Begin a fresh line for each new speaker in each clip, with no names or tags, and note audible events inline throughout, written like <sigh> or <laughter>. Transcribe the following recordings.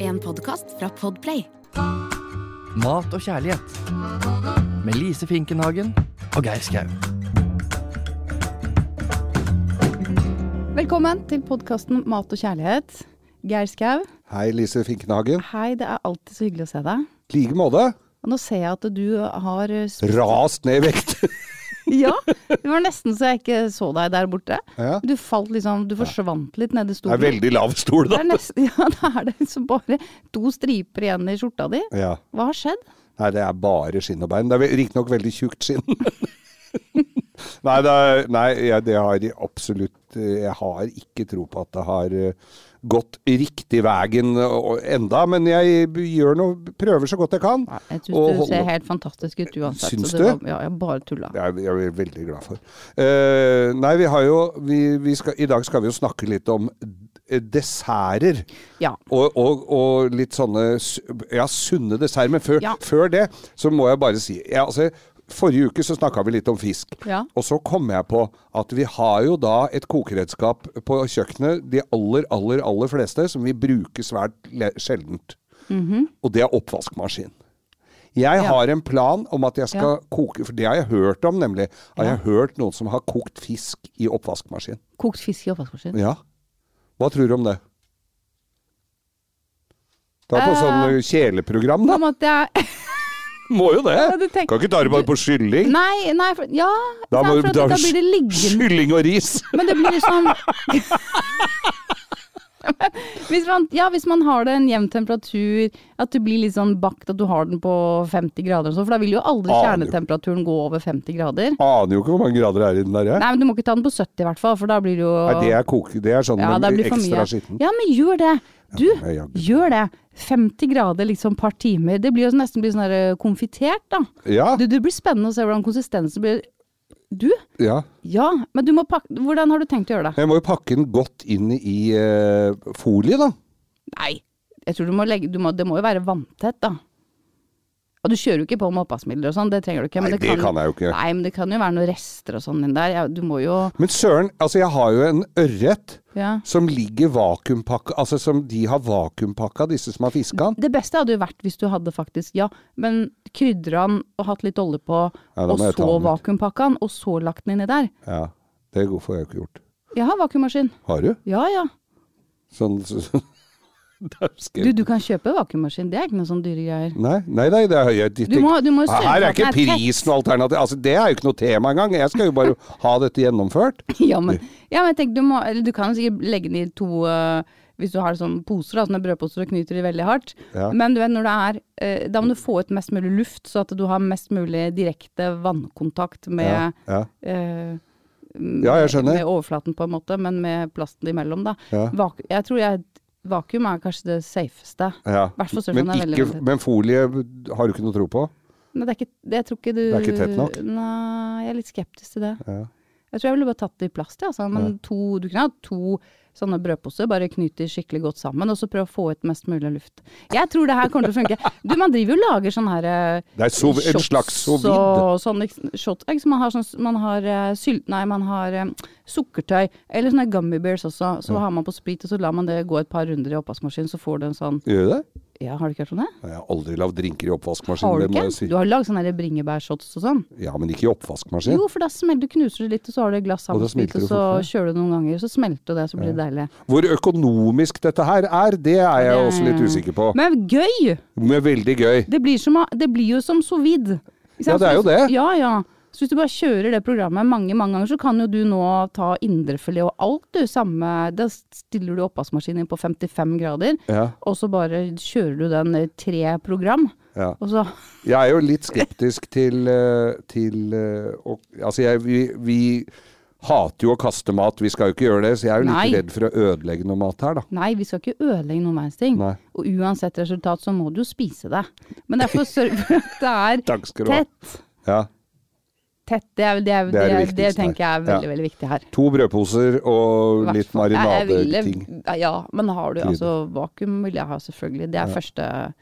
En podkast fra Podplay.
Mat og kjærlighet med Lise Finkenhagen og Geir Skau.
Velkommen til podkasten Mat og kjærlighet. Geir Skau,
Hei, Lise Finkenhagen.
hei, det er alltid så hyggelig å se deg.
I like måte.
Og nå ser jeg at du har eh,
<laughs>
sp-
Rast ned i vekt. <laughs>
Ja, det var nesten så jeg ikke så deg der borte.
Ja.
Du falt liksom, du forsvant litt nedi
Det er
stolen.
veldig lav stol,
Det
da.
er nesten, <laughs> ja, da er det liksom bare to striper igjen i skjorta di.
Ja.
Hva har skjedd?
Nei, det er bare skinn og bein. Det er riktignok veldig tjukt skinn. <laughs> nei, det, er, nei jeg, det har jeg absolutt Jeg har ikke tro på at det har eh, gått riktig veien eh, og- enda, men jeg gjør noe, prøver så godt jeg kan.
Jeg
Og
syns du
hold-
ser helt fantastisk ut uansett.
Syns
så det
du?
Var, ja, jeg bare tulla.
Det er jeg er veldig glad for. Eh, nei, vi har jo vi, vi skal, I dag skal vi jo snakke litt om d- desserter.
Ja.
Og, og, og litt sånne s- ja, sunne desserter. Men før,
Ja.
før det så må jeg bare si ja, altså, Forrige uke så snakka vi litt om fisk.
Ja.
Og så kom jeg på at vi har jo da et kokeredskap på kjøkkenet, de aller, aller, aller fleste, som vi bruker svært le- sjeldent.
Mhm.
Og det er oppvaskmaskin. Jeg har en plan om at jeg skal
Ja.
koke For det har jeg hørt om, nemlig. Har jeg hørt noen som har kokt fisk i oppvaskmaskin?
Kokt fisk i oppvaskmaskinen.
Ja. Hva tror du om det? Det er på sånn
Eh, <laughs>
kjeleprogram, da.
Om at
<laughs>
jeg
Må jo det.
du tenker-
Kan ikke ta det bare på kylling.
Nei, nei, for, ja.
Da
nei,
må-
for at,
da-
da blir det liggende.
Kylling og ris.
Men det blir liksom hvis man, Ja, hvis man har det en jevn temperatur, at det blir litt sånn bakt, at du har den på 50 grader og sånn, for da vil jo aldri
Aner jo.
kjernetemperaturen gå over 50 grader.
Aner jo ikke hvor mange grader det er i den der. jeg.
Nei, men du må ikke ta den på 70 i hvert fall, for da blir det jo
Nei, det er, koke, det er sånn
ja, da
med
blir for
ekstra
mye.
skitten.
Ja, men gjør det. Du,
men jeg-
gjør det. 50 grader liksom par timer. Det blir jo nesten blir sånn her eh, konfitert, da.
Ja.
Du, det blir spennende å se hvordan konsistensen blir. Du?
ja.
Ja, men du må pakke Hvordan har du tenkt å gjøre det?
Jeg må jo pakke den godt inn i eh, folie, da.
Nei, jeg tror du må legge du må, Det må jo være vanntett, da. Og du kjører jo ikke på med oppvaskmidler og sånn, det trenger du ikke.
Nei, det kan jeg jo ikke.
Nei, men det kan jo være noen rester og sånn inn der. Ja, Du må jo
Men søren, altså jeg har jo en ørret
ja.
som ligger vakuumpakka Altså som de har vakuumpakka, disse som har fiska den.
Det beste hadde jo vært hvis du hadde faktisk, ja, men krydra den og hatt litt olje på,
Ja, da må
og
jeg ta
så
den ut.
vakuumpakka den, og så lagt den inni der.
Ja, det får jeg jo ikke gjort.
Jeg har vakuummaskin.
Har du?
Ja ja.
Sånn så, <laughs> Der skal
Du,
jeg-
du kan kjøpe vakuummaskin, det er ikke noe sånn dyre greier.
Nei, nei, nei, det har jeg dytt
Du må- du må sørge
Her er
for at den
ikke
er
pris noe alternativ. Altså, det er jo ikke noe tema engang. Jeg skal jo bare ha dette gjennomført.
<laughs> Ja, men, ja, men jeg tenker, du, må, eller du kan jo sikkert legge den i to eh, Hvis du har sånne poser, da, sånne brødposer og knyter de veldig hardt.
Ja.
Men du vet, når det er, eh, da må du få ut mest mulig luft, så at du har mest mulig direkte vannkontakt med,
Ja, ja.
eh,
Ja, jeg skjønner.
med overflaten, på en måte, men med plasten imellom. Da.
Ja.
Vaku jeg tror jeg, vakuum er kanskje det safeste.
Ja.
Hvert fall
Men,
størrelsen er veldig
ikke,
vanntett.
men folie har du ikke noe tro på?
Nei, det er ikke, det, jeg tror ikke du
Det er ikke tett nok?
Nei, jeg er litt skeptisk til det.
Ja.
Jeg tror jeg ville bare tatt det i plast, ja, altså. men to, du kunne hatt to sånne brødposer, bare knyt de skikkelig godt sammen, og så prøve å få ut mest mulig luft. Jeg tror det her kommer til å funke. Du, man driver jo og lager sånne her eh,
Det er sov, en
shots
slags sovid.
og sånne ikke- shots. Ikke, sant, man har, sånn, man har eh, syl... Nei, man har eh, sukkertøy, eller sånne gummy bears også. Så har man på sprit, og så lar man det gå et par runder i oppvaskmaskinen, så får du en sånn
Gjør du det?
Ja, har du ikke hørt om det?
Jeg har aldri lagd drinker i oppvaskmaskinen.
Har du
det må
ikke?
jeg si.
Du har lagd sånne her bringebærshots og sånn?
Ja, men ikke i oppvaskmaskin.
Jo, for da smelter du knuser det litt, og så har du et glass
Og da
sammenspilt, og
smelter det
så
fort,
kjører du noen ganger, så smelter det, så blir det deilig.
Hvor økonomisk dette her er, det er jeg også litt usikker på.
Men gøy!
Men veldig gøy.
Det blir, som, det blir jo som sous vide. Ikke sant?
Ja, det er jo
Så hvis-
det.
Ja, ja. Så hvis du bare kjører det programmet mange mange ganger, så kan jo du nå ta indrefilet og alt, du. Samme Da stiller du oppvaskmaskinen på 55 grader,
Ja.
og så bare kjører du den i tre program.
Ja.
Og så
Jeg er jo litt skeptisk til, eh, til eh, og, Altså, jeg, vi, vi hater jo å kaste mat, vi skal jo ikke gjøre det, så jeg er jo
Nei.
litt redd for å ødelegge noe mat her, da.
Nei, vi skal ikke ødelegge noen verdens ting.
Nei.
Og uansett resultat så må du jo spise det. Men derfor sørg for at det er
Takk skal du ha.
tett.
Ja.
Tett, Det, er, vel- det, er,
Det
det,
er det
er, det
viktigste her.
tenker jeg er veldig,
Ja.
veldig viktig her.
To brødposer og litt
Hvertfall. Jeg- jeg ville-
marinadeting.
Ja, men har du altså vakuum, vil jeg ha selvfølgelig. Det er første,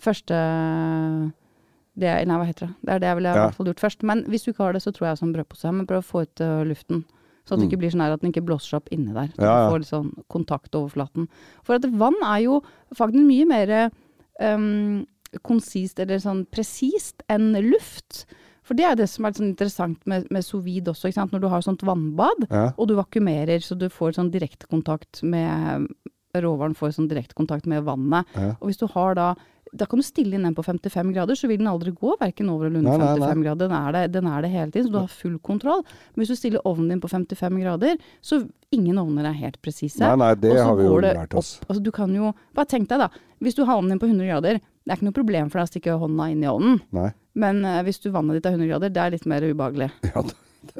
første det er, Nei, hva heter det. Det er det jeg ville i
Ja.
hvert fall gjort først. Men hvis du ikke har det, så tror jeg som brødpose. Men prøv å få ut øh, luften. Så at det ikke blir sånn her at den ikke blåser seg opp inni der. Så
Mm. Ja, ja.
Du får litt sånn kontaktoverflaten. For at vann er jo faktisk mye mer øhm, um, konsist, eller sånn presist, enn luft. For det er det som er litt sånn interessant med, med sous vide også, ikke sant? når du har sånt vannbad,
Ja.
og du vakuumerer, så du får sånn direktekontakt med Råvaren får sånn direktekontakt med vannet. Og hvis du har da Da kan du stille inn den på 55 grader, så vil den aldri gå verken over eller under
Nei, nei, nei.
55 grader. Den er, det, den er det hele tiden, så du har full kontroll. Men hvis du stiller ovnen din på 55 grader, så ingen ovner er helt presise.
Nei, nei, det
Og så
har vi jo
går det
lært oss.
opp. Altså, du kan jo Bare tenk deg, da. Hvis du har ovnen din på 100 grader, det er ikke noe problem for deg å stikke hånda inn i ovnen.
Nei. <laughs>
Men eh, hvis du vannet ditt er 100 grader, det er litt mer ubehagelig.
Ja, da.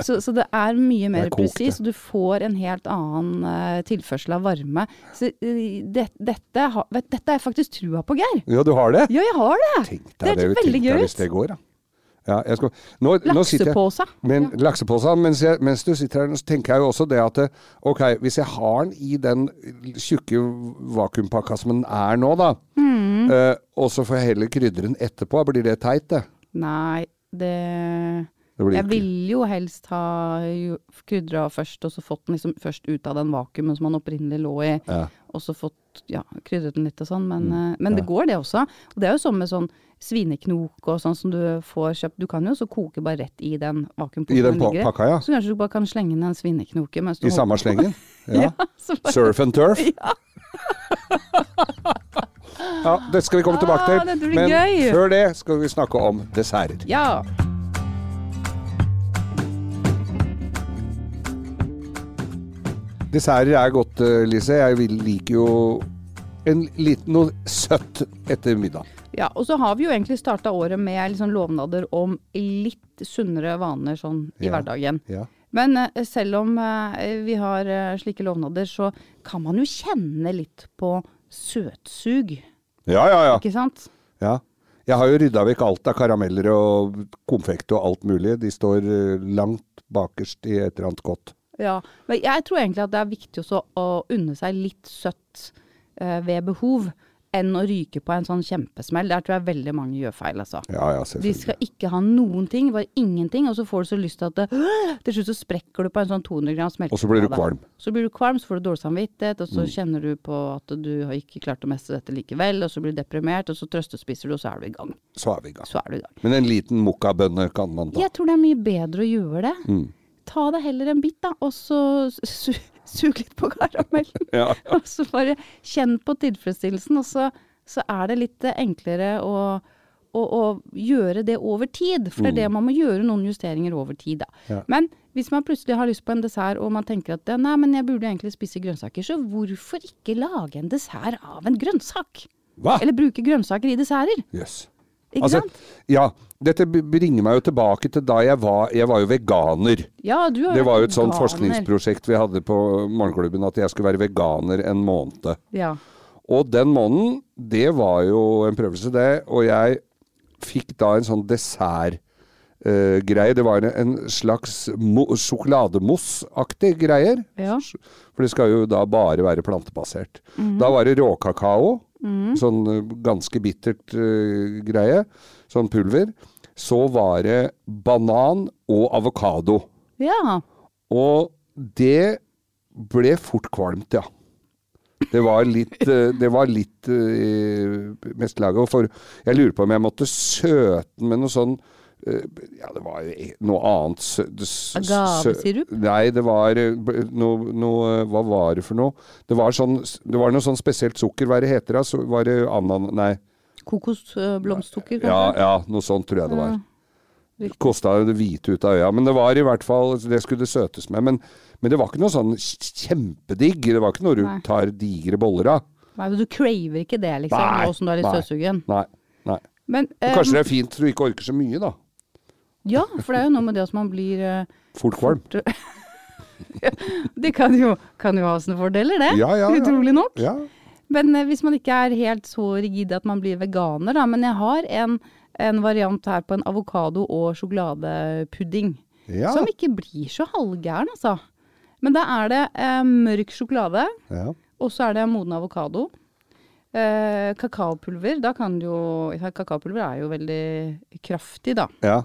Så, så det er mye mer
Det er kokt, det.
presis, og du får en helt annen eh, tilførsel av varme. Så eh, det, dette, ha, vet, dette har jeg faktisk trua på, Geir.
ja, du har det?
Ja, jeg har det!
Tenk
det
deg
er veldig
tenk
gøy
deg hvis
ut.
det går, da. Ja, jeg skal, nå, nå sitter jeg,
Laksepose.
Men laksepåsa, mens, jeg, mens du sitter her, så tenker jeg jo også det at eh, ok, hvis jeg har den i den tjukke vakuumpakka som den er nå, da,
Mm.
eh, og så får jeg heller krydre den etterpå, blir det teit, det?
Nei, det
Det blir
Jeg
ikke.
ville jo helst ha jo- krydra først, og så fått den liksom først ut av den vakuumen som den opprinnelig lå i. Og så fått ja, krydret den litt og sånn. Men,
Mm.
eh, men det går, det også. Og det er jo sånn med sånn svineknok og sånn som du får kjøpt. Du kan jo også koke bare rett i den vakuumposen.
I den
den
pa-
ligger i.
pakka, ja.
Så kanskje du bare kan slenge inn en svineknoke mens du
I samme
<laughs>
slengen? Ja.
så bare-
Surf and
<laughs>
turf? Ja. det skal vi komme tilbake til.
Ah, det blir
Men
gøy.
før det skal vi snakke om desserter.
Ja.
Desserter er godt, eh, Lise. Jeg vil- liker jo en liten, noe søtt etter middag.
Ja, og så har vi jo egentlig starta året med liksom lovnader om litt sunnere vaner sånn i
Ja.
hverdagen.
Ja.
Men eh, selv om eh, vi har eh, slike lovnader, så kan man jo kjenne litt på søtsug,
Ja, ja, ja.
ikke sant?
ja. Jeg har jo rydda vekk alt av karameller og konfekt og alt mulig. De står eh, langt bakerst i et eller annet godt.
Ja. Men jeg tror egentlig at det er viktig også å unne seg litt søtt eh, ved behov, enn å ryke på en sånn kjempesmell. Der tror jeg veldig mange gjør feil, altså.
Ja, ja,
De
selvfølgelig.
skal ikke ha noen ting, bare ingenting, og så får du så lyst til at det, til slutt så sprekker du på en sånn 200 grams melk.
Og så blir du kvalm. Mm.
Så blir du kvalm, så får du dårlig samvittighet, og så kjenner du på at du har ikke klart å mestre dette likevel, og så blir du deprimert, og så trøstespiser du, og så er du i gang.
Så er vi i gang.
Så er du i gang.
Men en liten mokkabønne kan man ta.
Jeg tror det er mye bedre å gjøre det.
Mm.
Ta deg heller en bit, da, og så su sug litt på karamellen.
Ja,
<laughs> Og så bare kjenn på tilfredsstillelsen, og så, så er det litt eh, enklere å, å, å gjøre det over tid. For det er det man må gjøre noen justeringer over tid, da.
Mm. Ja.
Men hvis man plutselig har lyst på en dessert, og man tenker at eh, nei, men jeg burde egentlig spise grønnsaker, så hvorfor ikke lage en dessert av en grønnsak?
Hva?
Eller bruke grønnsaker i desserter?
Jøss.
Ikke
Altså,
sant?
Ja. Dette b- bringer meg jo tilbake til da jeg var Jeg var jo veganer.
Ja, du har
Det
vært
var jo et sånt
veganer.
forskningsprosjekt vi hadde på morgenklubben, at jeg skulle være veganer en måned.
Ja.
Og den måneden, det var jo en prøvelse, det. Og jeg fikk da en sånn dessertgreie. det var en- en slags mo sjokolademousseaktig greier.
Ja. Mhm.
For det skal jo da bare være plantebasert. Da var det råkakao. Sånn eh, ganske bittert eh, greie. Sånn pulver. Så var det banan og avokado.
ja.
Og det ble fort kvalmt, ja. Det var litt, eh, det var litt eh, i meste laget. og For jeg lurer på om jeg måtte søte den med noe sånn eh, ja, det var jo e, noe annet sø- s-
Agavesirup?
sø- Nei, det var eh, b- noe, noe eh, Hva var det for noe? Det var, sånn, det var noe sånn spesielt sukker, hva er det heter da? Så var det anan... Nei.
Kokosblomstsukker,
Ja,
kanskje?
ja, noe sånt tror jeg det var.
riktig.
Kosta det hvite ut av øya. Men det var i hvert fall Det skulle det søtes med. Men, men det var ikke noe sånn kjempedigg. Det var ikke noe du
Nei.
tar digre boller av.
Nei, men du craver ikke det, liksom,
Nei,
nå som du er litt
nei.
søtsugen?
Nei. nei.
Men,
Men
eh,
kanskje det er fint så du ikke orker så mye, da.
Ja, for det er jo noe med det at man blir eh,
Fort kvalm.
Det kan jo, kan jo ha sine fordeler, det.
Ja, ja, ja.
Utrolig nok.
Ja.
Men eh, hvis man ikke er helt så rigid at man blir veganer, da. Men jeg har en, en variant her på en avokado- og sjokoladepudding.
Ja.
Som ikke blir så halvgæren, altså. Men da er det eh, mørk sjokolade,
Ja.
og så er det moden avokado. Eh, kakaopulver, da kan du jo ja, Kakaopulver er jo veldig kraftig, da.
ja.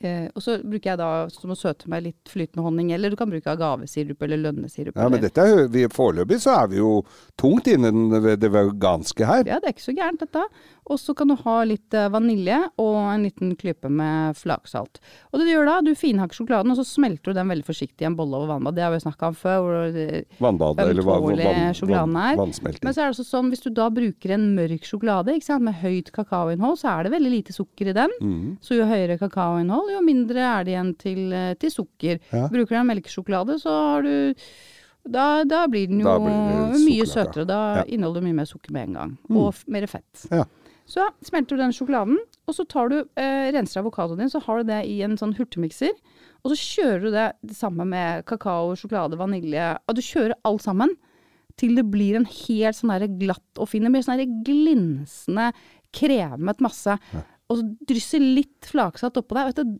Eh, og så bruker jeg da som å søte meg litt flytende honning, eller du kan bruke agavesirup eller lønnesirup.
Ja, men
eller-
dette er, jo- vi, foreløpig så er vi jo tungt innen det det veganske her.
Ja, det er ikke så gærent dette. Og så kan du ha litt eh, vanilje og en liten klype med flaksalt. Og det du gjør da, du finhakker sjokoladen, og så smelter du den veldig forsiktig i en bolle over vannbad. Det har vi snakka om før. hvor eh, det-
Vannbade, eller hva
Ømtålig
vann-
sjokoladen
vann-
er.
vannsmelting.
Men så er det også sånn, hvis du da bruker en mørk sjokolade ikke sant, med høyt kakaoinnhold, så er det veldig lite sukker i den.
Mhm.
Så jo høyere kakaoinnhold, jo mindre er det igjen til, eh, til sukker. Bruker du en melkesjokolade, så har du da, da blir den jo
Da blir det
mye
sukkerlakka.
søtere. Da
Ja. Mm.
inneholder du mye mer sukker med en gang. Og f mer fett.
Ja.
Så smelter du den sjokoladen, og så tar du, eh, renser avokadoen din, så har du det i en sånn hurtigmikser. Og så kjører du det, det samme med kakao, sjokolade, vanilje. Og du kjører alt sammen til det blir en helt sånn der glatt og fin. Det blir sånn der glinsende, kremet masse. Og så drysser litt flaksatt oppå deg. Vet du,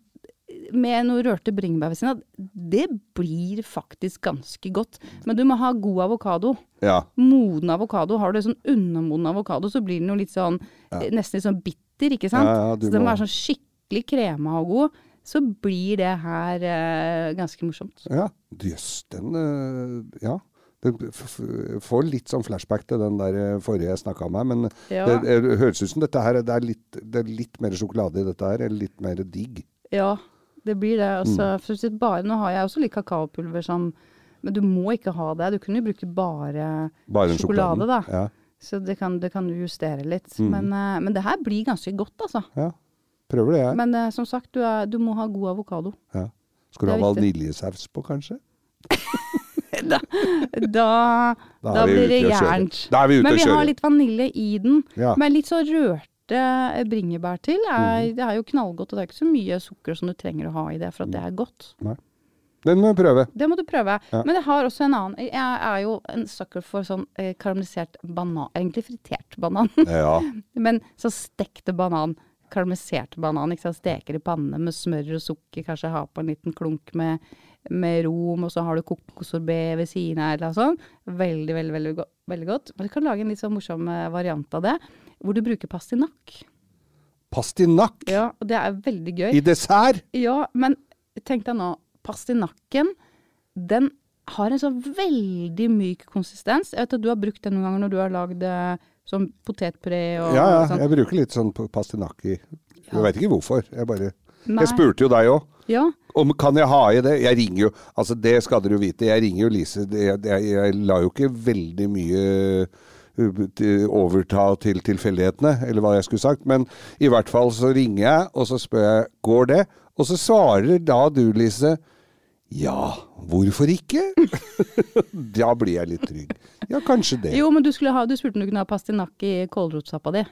med noe rørte bringebær ved siden av. Det blir faktisk ganske godt. Men du må ha god avokado.
Ja.
Moden avokado. Har du sånn undermoden avokado, så blir den jo litt sånn eh, nesten litt sånn bitter, ikke sant?
Ja, ja, du
så den må
må-
være sånn skikkelig krema og god. Så blir det her eh, ganske morsomt.
Ja. Jøss, den eh, Ja. Den f- f- får litt sånn flashback til den der eh, forrige jeg snakka om her, men
Ja.
det, det høres ut som dette her det er, litt, det er litt mer sjokolade i dette her, eller litt mer digg.
Ja, det blir det. Altså,
Mm.
for å si det bare, nå har jeg også litt kakaopulver som Men du må ikke ha det. Du kunne jo bruke bare,
Bare den
sjokolade, da.
sjokoladen. Ja.
Så det kan, det kan du justere litt.
Mm.
Men, eh, men det her blir ganske godt, altså.
Ja. Prøver det, jeg.
Men eh, som sagt, du, er, du må ha god
<laughs>
avokado.
Ja. Skal du
Det
ha
er viktig.
vaniljesaus på, kanskje?
Da, da,
Da er vi
blir det
ute å kjøre.
gærent.
Da er vi ute
Men
å
vi
kjøre.
har litt vanilje i den.
Ja. Mhm.
Men litt så rørte eh, bringebær til. Er, Det er jo knallgodt, og det er ikke så mye sukker som du trenger å ha i det for at det er godt.
Den må vi prøve.
Det må du prøve.
Mhm. Ja.
Men jeg har også en annen. Jeg er jo en sucker for sånn eh, karamellisert banan. Egentlig fritert banan, <laughs>
Ja.
men så stekte banan. Karamellisert banan. ikke sant? Steker i panne med smør og sukker. Kanskje ha på en liten klunk med, med rom, og så har du kokosorbé ved siden av. eller noe sånt. Veldig, veldig, veldig, go veldig godt. Men du kan lage en litt sånn morsom eh, variant av det, hvor du bruker pastinakk.
Pastinakk
Ja, og det er veldig gøy.
i dessert!
Ja, men tenk deg nå. Pastinakken, den har en sånn veldig myk konsistens. Jeg vet at du har brukt den noen ganger når du har lagd eh, sånn potetpuré og
Ja, ja,
sånn.
jeg bruker litt sånn p- pastinakk i Jeg veit ikke hvorfor. Jeg bare
Nei.
Jeg spurte jo deg òg.
Ja,
Om kan jeg ha i det? Jeg ringer jo Altså, det skal dere jo vite. Jeg ringer jo Lise. Det- Jeg, jeg, jeg la jo ikke veldig mye uh, til- overta til tilfeldighetene, eller hva jeg skulle sagt. Men i hvert fall så ringer jeg, og så spør jeg går det. Og så svarer da du, Lise, ja, hvorfor ikke? <laughs> da blir jeg litt trygg. Ja, kanskje det.
Jo, men du, skulle ha, du spurte om du kunne ha pastinakk i kålrotsappa di.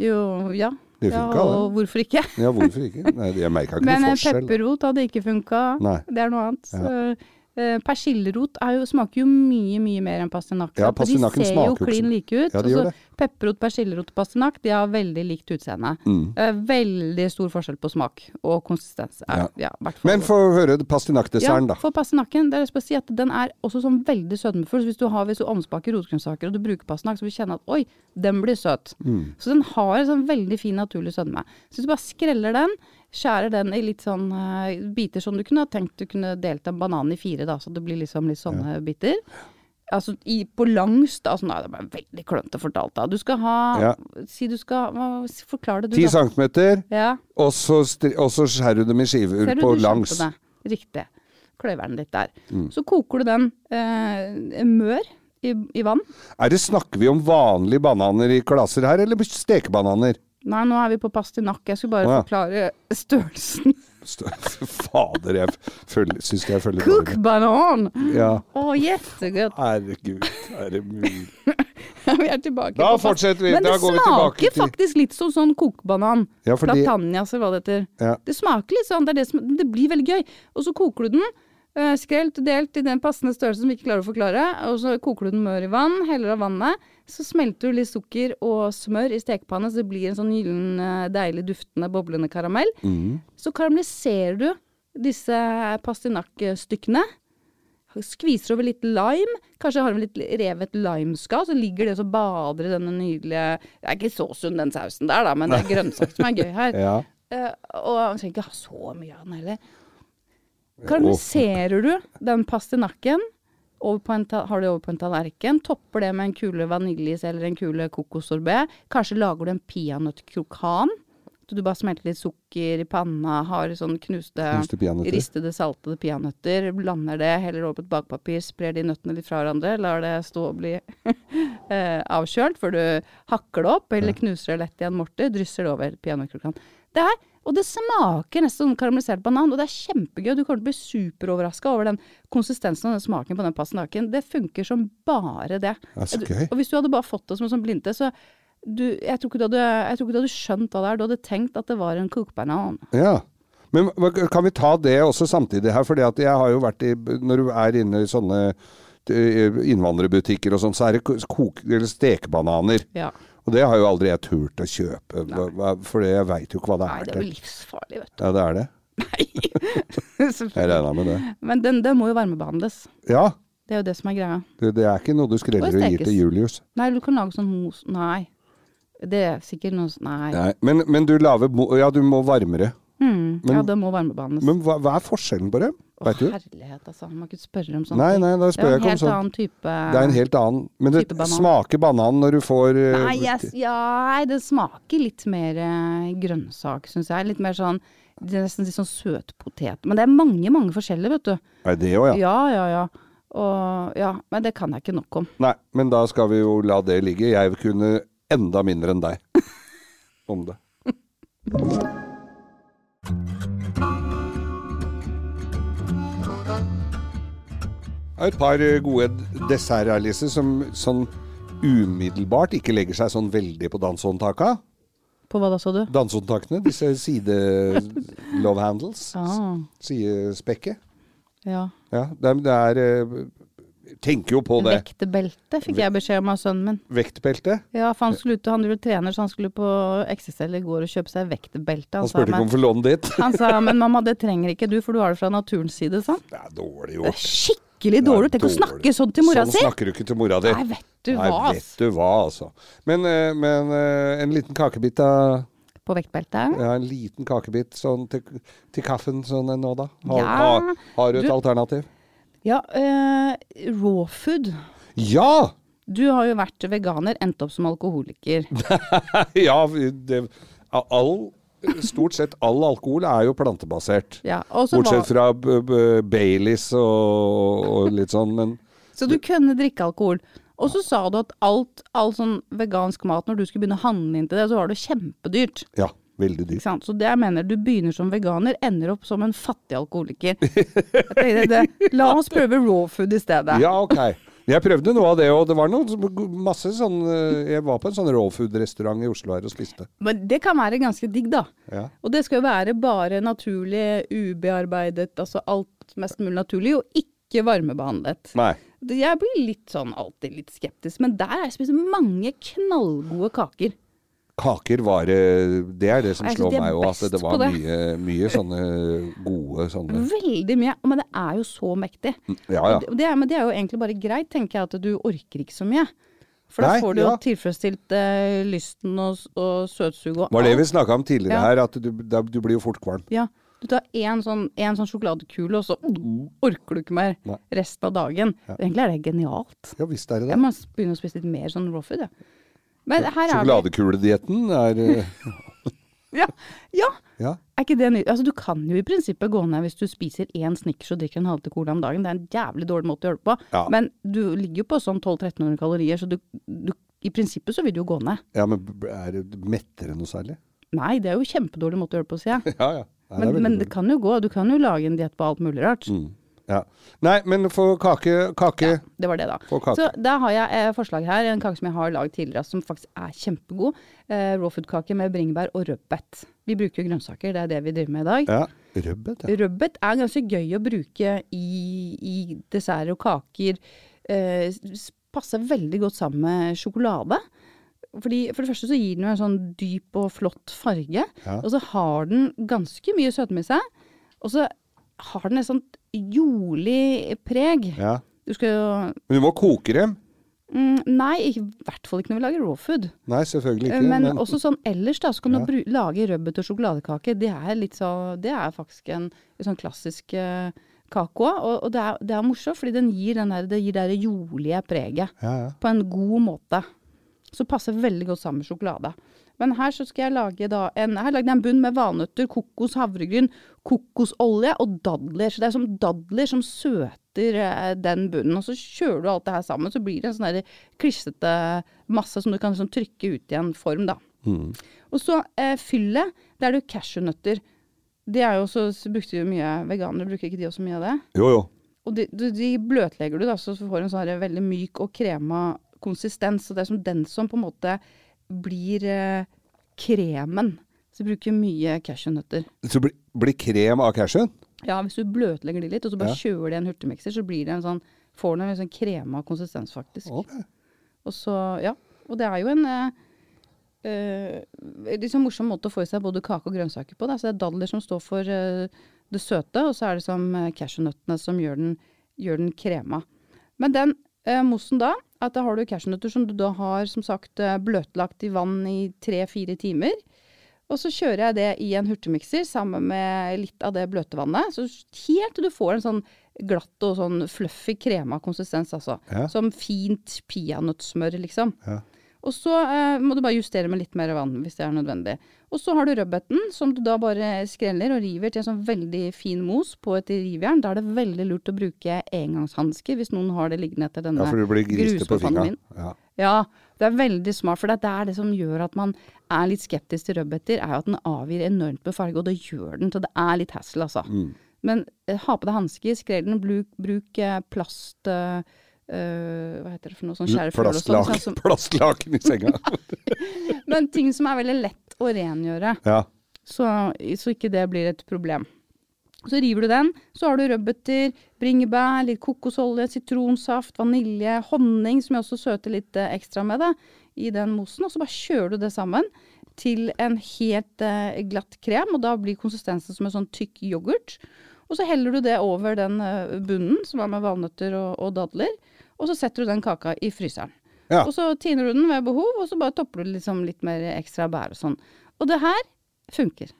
Jo, ja.
Mm. Det
ja,
funka, det.
og hvorfor ikke?
Ja, hvorfor ikke? Nei, jeg merka ikke
Men
noe
eh,
forskjell.
pepperrot hadde ikke funka.
Nei.
Det er noe annet. Så, eh, Persillerot er jo, smaker jo mye mye mer enn pastinakk.
Ja,
sant? Og
pastinakken
de ser
smaker
jo
jo ikke
klin
så-
like ut.
Ja, de
og
gjør
så
det.
Pepperrot, persillerot og pastinakk de har veldig likt utseende.
Mm.
Eh, veldig stor forskjell på smak og konsistens. Er, ja. hvertfall-
Men få høre
ja,
pastinakkdesserten, da.
for pastinakken, det er lyst til å si at den er også sånn veldig sødmefull. Så hvis du har hvis du omspaker rotgrønnsaker og du bruker pastinakk, så vil du kjenne at oi, den blir søt.
Mm.
Så den har en sånn veldig fin naturlig sødme. Så hvis du bare skreller den, skjærer den i litt sånn eh, biter som du kunne ha tenkt du kunne delt en banan i fire, da, så det blir liksom litt sånne biter. Altså i, på langs, da. Sånn, nei, det ble veldig klønete fortalt, da. Du skal ha
Ja.
Si du skal hva- Forklar det, du,
Ti
da.
centimeter,
Ja.
og så, stri- og så skjærer du dem i skiver
Ser du,
på
du
langs. Mm.
skjønte det. Riktig. Kløyveren ditt der. Så koker du den eh, mør i, i vann.
Er det Snakker vi om vanlige bananer i klasser her, eller stekebananer?
Nei, nå er vi på pastinakk. Jeg skulle bare
Å, ja.
forklare størrelsen. <laughs>
Stø- <laughs> Fader, jeg syns jeg følger
Cook banan!
Ja. <laughs>
Å, jettegodt.
Herregud, er det mulig?
<laughs> Vi er tilbake.
Da
på pas-
fortsetter vi.
Men
Da
det
går vi tilbake
smaker
til-
faktisk litt som sånn kokebanan.
Ja, fordi-
Platanias eller hva det heter.
Ja.
Det smaker litt sånn. Det, er det, som, det blir veldig gøy. Og så koker du den. Eh, Skrelt, delt i den passende størrelse som vi ikke klarer å forklare. Og så koker du den mør i vann, heller av vannet. Så smelter du litt sukker og smør i stekepanne, så det blir en sånn gyllen, eh, deilig duftende, boblende karamell.
Mm.
Så karamelliserer du disse pastinakkstykkene. Skviser over litt lime. Kanskje har de litt revet limeskall, så ligger det og så bader i denne nydelige Det er ikke så sunn, den sausen der, da, men det er grønnsak som er gøy her.
Ja.
Eh, og man trenger ikke ha så mye av den heller. Karamelliserer du den pastinakken, over på en ta- har du det over på en tallerken, topper det med en kule vaniljeis eller en kule kokossorbet, kanskje lager du en peanøttkrokan, så du bare smelter litt sukker i panna, har sånn knuste,
Knuste peanøtter.
ristede, saltede peanøtter, blander det, heller over på et bakpapir, sprer de nøttene litt fra hverandre, lar det stå og bli <laughs> eh, avkjølt før du hakker det opp, eller knuser det lett i en morter, drysser det over peanøttkrokan. Det her, og det smaker nesten som karamellisert banan, og det er kjempegøy. Du kommer til å bli superoverraska over den konsistensen og den smaken på den pastinaken. Det funker som bare det.
Ja, så
Du-
gøy.
Og hvis du hadde bare fått det som en sånn blindte, så du, jeg, tror ikke du hadde, jeg tror ikke du hadde skjønt hva det er. Du hadde tenkt at det var en kokbanan.
Ja. Men hva- kan vi ta det også samtidig her? Fordi at jeg har jo vært i Når du er inne i sånne eh, innvandrerbutikker og sånn, så er det ko- koke- eller stekebananer.
Ja.
Og det har jo aldri jeg turt å kjøpe, hva- hva- for jeg veit jo ikke hva det er.
Nei, det er
til.
jo livsfarlig, vet
Ja, det er det. Jeg
du.
regna med det.
Men den, den må jo varmebehandles.
Ja.
Det er jo det som er greia.
Det, det er ikke noe du skreller
Og
og gir
stekes.
til Julius.
Nei, du kan lage sånn mos Nei. Det er sikkert noe s- Nei.
Nei. Men, men du lager mo- Ja, du må varmere.
Mm,
Men-
ja, det må varmebehandles.
Men hva, hva er forskjellen på det?
Å,
Vet du?
herlighet, altså. Man kan ikke spørre om sånne
Nei,
ting.
nei, da
Det er
spør
jo
jeg
en
ikke om
helt
sånn.
annen type
Det er en helt annen Men det
type banan. Ah,
smaker banan når du får eh,
Nei, jeg, ja, nei, det smaker litt mer eh, grønnsak, syns jeg. Litt mer sånn det er Nesten litt sånn søtpotet. Men det er mange, mange forskjellige, vet du.
Er det òg, ja.
Ja, ja, ja. Og, ja. Men det kan jeg ikke nok om.
Nei, men da skal vi jo la det ligge. Jeg kunne enda mindre enn deg <laughs> om det. Jeg har Et par eh, gode desserter, Alice, som sånn umiddelbart ikke legger seg sånn veldig på dansehåndtaka.
På hva da, så du?
Dansehåndtakene, disse side-love handles.
Ah,
Sidespekket.
ja.
Ja, det er, det er eh, Tenker jo på det.
Vektebelte fikk jeg beskjed om av sønnen min.
Vektbelte.
Ja, for han skulle ut, og han driver og trener, så han skulle på XXL i går og kjøpe seg vektebelte.
Han
sa,
spurte ikke
men-
om å få låne ditt.
Han sa men mamma, det trenger ikke du, for du har det fra naturens side, sa han.
Det er dårlig
Det er
gjort.
skikkelig dårlig. Tenk å snakke sånn til mora
sånn
si!
Sånn snakker du ikke til mora di.
Nei, vet du
Nei,
hva, ass.
vet du hva, altså. Men, eh, men eh, en liten kakebit av
På vektbeltet.
Ja, en liten kakebit sånn til, til kaffen sånn en nå, da. Har,
Ja,
har, har du et
du-
alternativ?
Ja, eh, raw food.
Ja! <laughs>
Du har jo vært veganer, endt opp som alkoholiker.
ja det, all, stort sett all alkohol er jo plantebasert.
Ja, og så, var,
Bortsett fra b b Baileys og, og litt sånn, men
så du kunne drikke alkohol. Og så sa du at alt, all sånn vegansk mat, når du skulle begynne å handle inn til det, så var det kjempedyrt.
ja, veldig dyrt.
Ikke sant? Så det jeg mener, du begynner som veganer, ender opp som en fattig
<laughs>
alkoholiker. Jeg tenkte, det, la oss prøve raw food i stedet.
Ja, ok. Jeg prøvde noe av det, og det var noe, som- masse sånn eh, Jeg var på en sånn raw food-restaurant i Oslo her og spiste.
Men det kan være ganske digg, da.
Ja.
Og det skal jo være bare naturlig, ubearbeidet, altså alt mest mulig naturlig, og ikke varmebehandlet.
Nei.
Det- Jeg blir litt sånn alltid litt skeptisk, men der har jeg spist mange knallgode kaker.
Kaker var eh, Det er det som
Jeg synes
slår
de er
meg òg, at
best
det var
på det. Mhm.
mye, mye sånne gode sånne
Veldig mye, men det er jo så mektig.
Ja ja.
Og Det, er- men det er jo egentlig bare greit, tenker jeg, at du orker ikke så mye. For da
Nei,
får du jo
ja.
tilfredsstilt eh, lysten og, s- og søtsuget og
Var det vi
alt.
snakka om tidligere
Ja.
her, at du, da, du blir jo fort kvalm.
Ja. Du tar én sånn, en sånn sjokoladekule, og så orker du ikke mer
Nei.
resten av dagen. Egentlig er det genialt.
Ja visst er det
Jeg
det.
må begynne å spise litt mer sånn raw food, jeg. Men her er vi.
Sjokoladekuledietten er eh,
Ja, ja.
Ja.
Er ikke det ny... Altså, du kan jo i prinsippet gå ned hvis du spiser én Snickers og drikker en halvliter cola om dagen. Det er en jævlig dårlig måte å gjøre det på.
Ja.
Men du ligger jo på sånn 1200-1300 kalorier, så du, du I prinsippet så vil du jo gå ned.
Ja, men b- er det mettere noe særlig? <laughs>
Nei, det er jo kjempedårlig måte å gjøre det på, sier jeg.
Ja ja. Nei, det er
Men,
veldig
men det
dårlig. Mm.
kan jo gå. Du kan jo lage en diett på alt mulig rart.
Ja. Nei, men få kake, kake.
Det var det, da.
Få kake.
Så da har jeg eh, forslag her. En kake som jeg har lagd tidligere som faktisk er kjempegod. Eh, raw food-kake med bringebær og rødbet. Vi bruker jo grønnsaker, det er det vi driver med i dag.
Ja. Rødbet, ja.
Rødbet er ganske gøy å bruke i, i desserter og kaker. Eh, s- passer veldig godt sammen med sjokolade. Fordi For det første så gir den jo en sånn dyp og flott farge. Og så har den ganske mye sødme i seg. Og så har den et sånt jordlig preg.
ja.
Du skal jo
Men du må koke dem.
mm, Nei, ikke- i hvert fall ikke når vi lager raw food.
Nei, selvfølgelig
Eh,
ikke.
Men
men-
også sånn ellers, da, så kan
Ja.
du bru lage rødbet og sjokoladekake. Det er, litt så, det er faktisk en, en sånn klassisk eh, kake òg. Og, og det, er, det er morsomt, fordi den gir den der, det gir det der jordlige preget
ja, ja.
på en god måte. Som passer veldig godt sammen med sjokolade. Men her så skal jeg lage da en, her lagde jeg en bunn med valnøtter, kokos, havregryn, kokosolje og dadler. Så det er som dadler som søter eh, den bunnen. Og så kjøler du alt det her sammen, så blir det en sånn der klissete masse som du kan liksom trykke ut i en form, da. Og så eh, fyllet, det er det jo cashewnøtter. Det er jo også, så brukte jo mye veganere, bruker ikke de også mye av det?
Jo, jo.
Og de, de, de bløtlegger du, da, så du får en sånn her veldig myk og krema konsistens. Og det er som den som på en måte blir eh, kremen. Så du bruker mye cashewnøtter.
Så blir blir krem av cashewen?
Ja, hvis du bløtlegger de litt, og så bare kjører det i en hurtigmikser, så blir det en sånn, får den en sånn krema konsistens, faktisk. Og så, ja. Og det er jo en eh, eh, litt sånn morsom måte å få i seg både kake og grønnsaker på. Da. Så det er dadler som står for eh, det søte, og så er det som eh, cashewnøttene som gjør den, gjør den krema. Men den eh, mossen da, at da har du cashewnøtter som du da har som sagt eh, bløtlagt i vann i tre-fire timer. Og så kjører jeg det i en hurtigmikser sammen med litt av det bløte vannet. Så helt til du får en sånn glatt og sånn fluffy krema konsistens, altså.
Ja.
Som fint peanøttsmør, liksom. Og så eh, må du bare justere med litt mer vann hvis det er nødvendig. Og så har du rødbeten, som du da bare skreller og river til en sånn veldig fin mos på et rivjern. Da er det veldig lurt å bruke engangshansker hvis noen har det liggende etter denne
Ja, for du blir griste på
grusforfannen
fingra.
min.
Ja.
Ja, det er veldig smart, for det er det som gjør at man er litt skeptisk til rødbeter, er jo at den avgir enormt med farge, og det gjør den, så det er litt hassle, altså. Men eh, ha på deg hansker, skrell den, bruk, bruk eh, plast... eh, eh, hva heter det for noe sånn skjærefjøl og sånn, sånn
Plastlaken
som,
plastlaken i
<laughs>
senga.
men ting som er veldig lett å rengjøre
ja.
så, så ikke det blir et problem. Så river du den, så har du rødbeter, bringebær, litt kokosolje, sitronsaft, vanilje, honning, som jeg også søter litt eh, ekstra med, da, i den mosen. Og så bare kjører du det sammen til en helt eh, glatt krem, og da blir konsistensen som en sånn tykk yoghurt. Og så heller du det over den eh, bunnen, som er med valnøtter og, og dadler, og så setter du den kaka i fryseren.
Ja.
Og så tiner du den ved behov, og så bare topper du liksom litt mer ekstra bær og sånn. Og det her funker.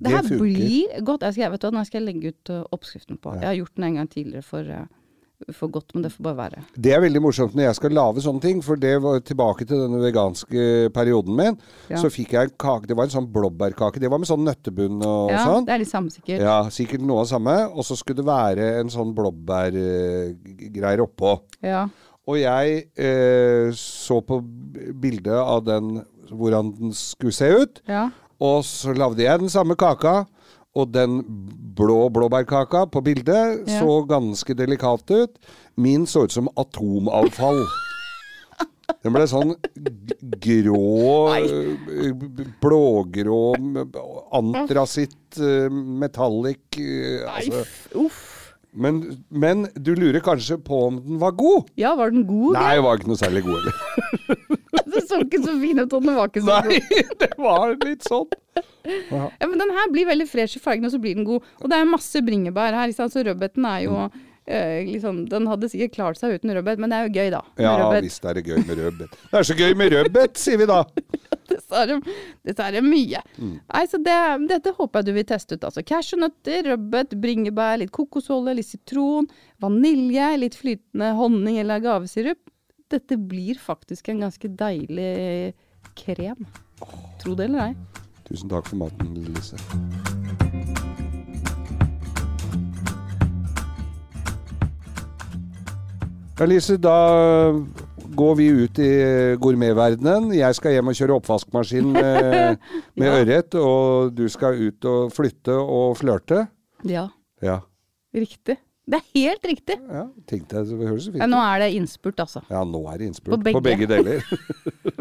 Det,
Det
her
funker.
blir godt. Jeg skal, jeg vet du hva, den her skal jeg legge ut uh, oppskriften på. Jeg har gjort den en gang tidligere for, uh, for godt, men det får bare være.
Det er veldig morsomt når jeg skal lage sånne ting, for det var tilbake til denne veganske perioden min.
Ja.
Så fikk jeg en kake, det var en sånn blåbærkake. Det var med sånn nøttebunn og
ja,
sånn.
Det er litt samsikkert.
Ja, sikkert noe av samme. Og så skulle det være en sånn blåbærgreier oppå.
Ja.
Og jeg eh, så på b- bildet av den, hvordan den skulle se ut.
Ja.
Og så lagde jeg den samme kaka. Og den blå blåbærkaka på bildet
Ja.
så ganske delikat ut. Min så ut som
<laughs>
atomavfall. Den ble sånn g- grå, eh, b- blågrå, m- antrasitt, eh, metallic eh, altså.
Uff.
men, men du lurer kanskje på om den var god?
Ja, var den god? <laughs>
Nei, jeg var ikke noe særlig god <laughs> heller.
Den så ikke så fin ut, og den var ikke så god.
det var litt sånn.
Ja, men den her blir veldig fresh i fargen, og så blir den god. Og det er masse bringebær her, ikke sant? så rødbeten er jo
Mm.
eh, liksom, Den hadde sikkert klart seg uten rødbet, men det er jo gøy, da. med
Ja
rødbet.
visst er det gøy med rødbet. Det er så gøy med rødbet, sier vi da.
<laughs> Dessverre, dessverre mye. Nei, så det, dette håper jeg du vil teste ut. Altså Cashewnøtter, rødbet, bringebær, litt kokosolje, litt sitron, vanilje, litt flytende honning eller agavesirup. Dette blir faktisk en ganske deilig krem. Tro det eller ei.
Tusen takk for maten, Lise. Ja, Lise, da går vi ut i gourmetverdenen. Jeg skal hjem og kjøre oppvaskmaskin
<laughs>
med, med ørret, og du skal ut og flytte og flørte.
Ja,
Ja.
riktig. Det er helt riktig.
Ja, tenkte jeg, så det høres så
Ja,
fint ut.
nå er det innspurt, altså.
Ja, nå er det
På
innspurt.
begge.
På begge
<laughs>
deler.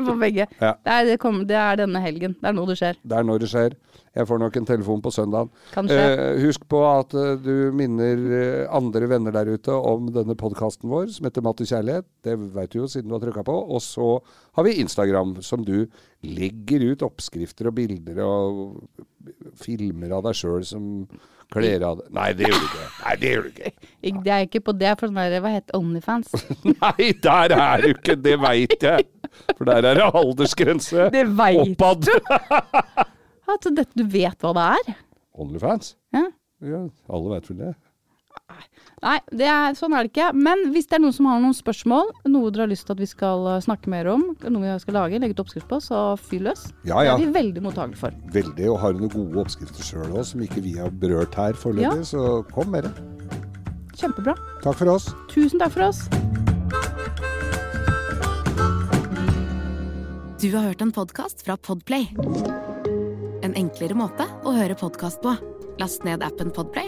For begge.
Ja.
Det, er, det, kommer- det er denne helgen. Det er nå det skjer.
Det er når det skjer. Jeg får nok en telefon på søndag.
Kanskje.
husk på at eh, du minner eh, andre venner der ute om denne podkasten vår som heter Matt og kjærlighet. Det veit du jo siden du har trykka på. Og så har vi Instagram, som du legger ut oppskrifter og bilder og filmer av deg sjøl som kler av deg Nei, det gjør du ikke. Nei, det gjør du
<laughs>
ikke.
Ik- Det er ikke på det, for sånn der, hva heter Onlyfans?
Nei, der er du ikke! Det veit jeg. For der er det aldersgrense
Det veit du!
oppad.
Altså, dette, du vet hva det er?
<laughs> Onlyfans?
Ja.
Ja, alle veit vel det.
Nei, det er, sånn er det ikke. Men hvis det er noen som har noen spørsmål, noe dere har lyst til at vi skal eh, snakke mer om, noe vi skal lage, legge ut oppskrift på, så fyr løs.
Ja, ja.
Det er vi veldig mottakelige for.
Veldig, og har noen gode oppskrifter sjøl òg, som ikke vi har berørt her foreløpig.
Ja.
Så kom med det.
Kjempebra.
Takk for oss.
Tusen takk for oss.
Du har hørt en podkast fra Podplay. En enklere måte å høre podkast på. Last ned appen Podplay,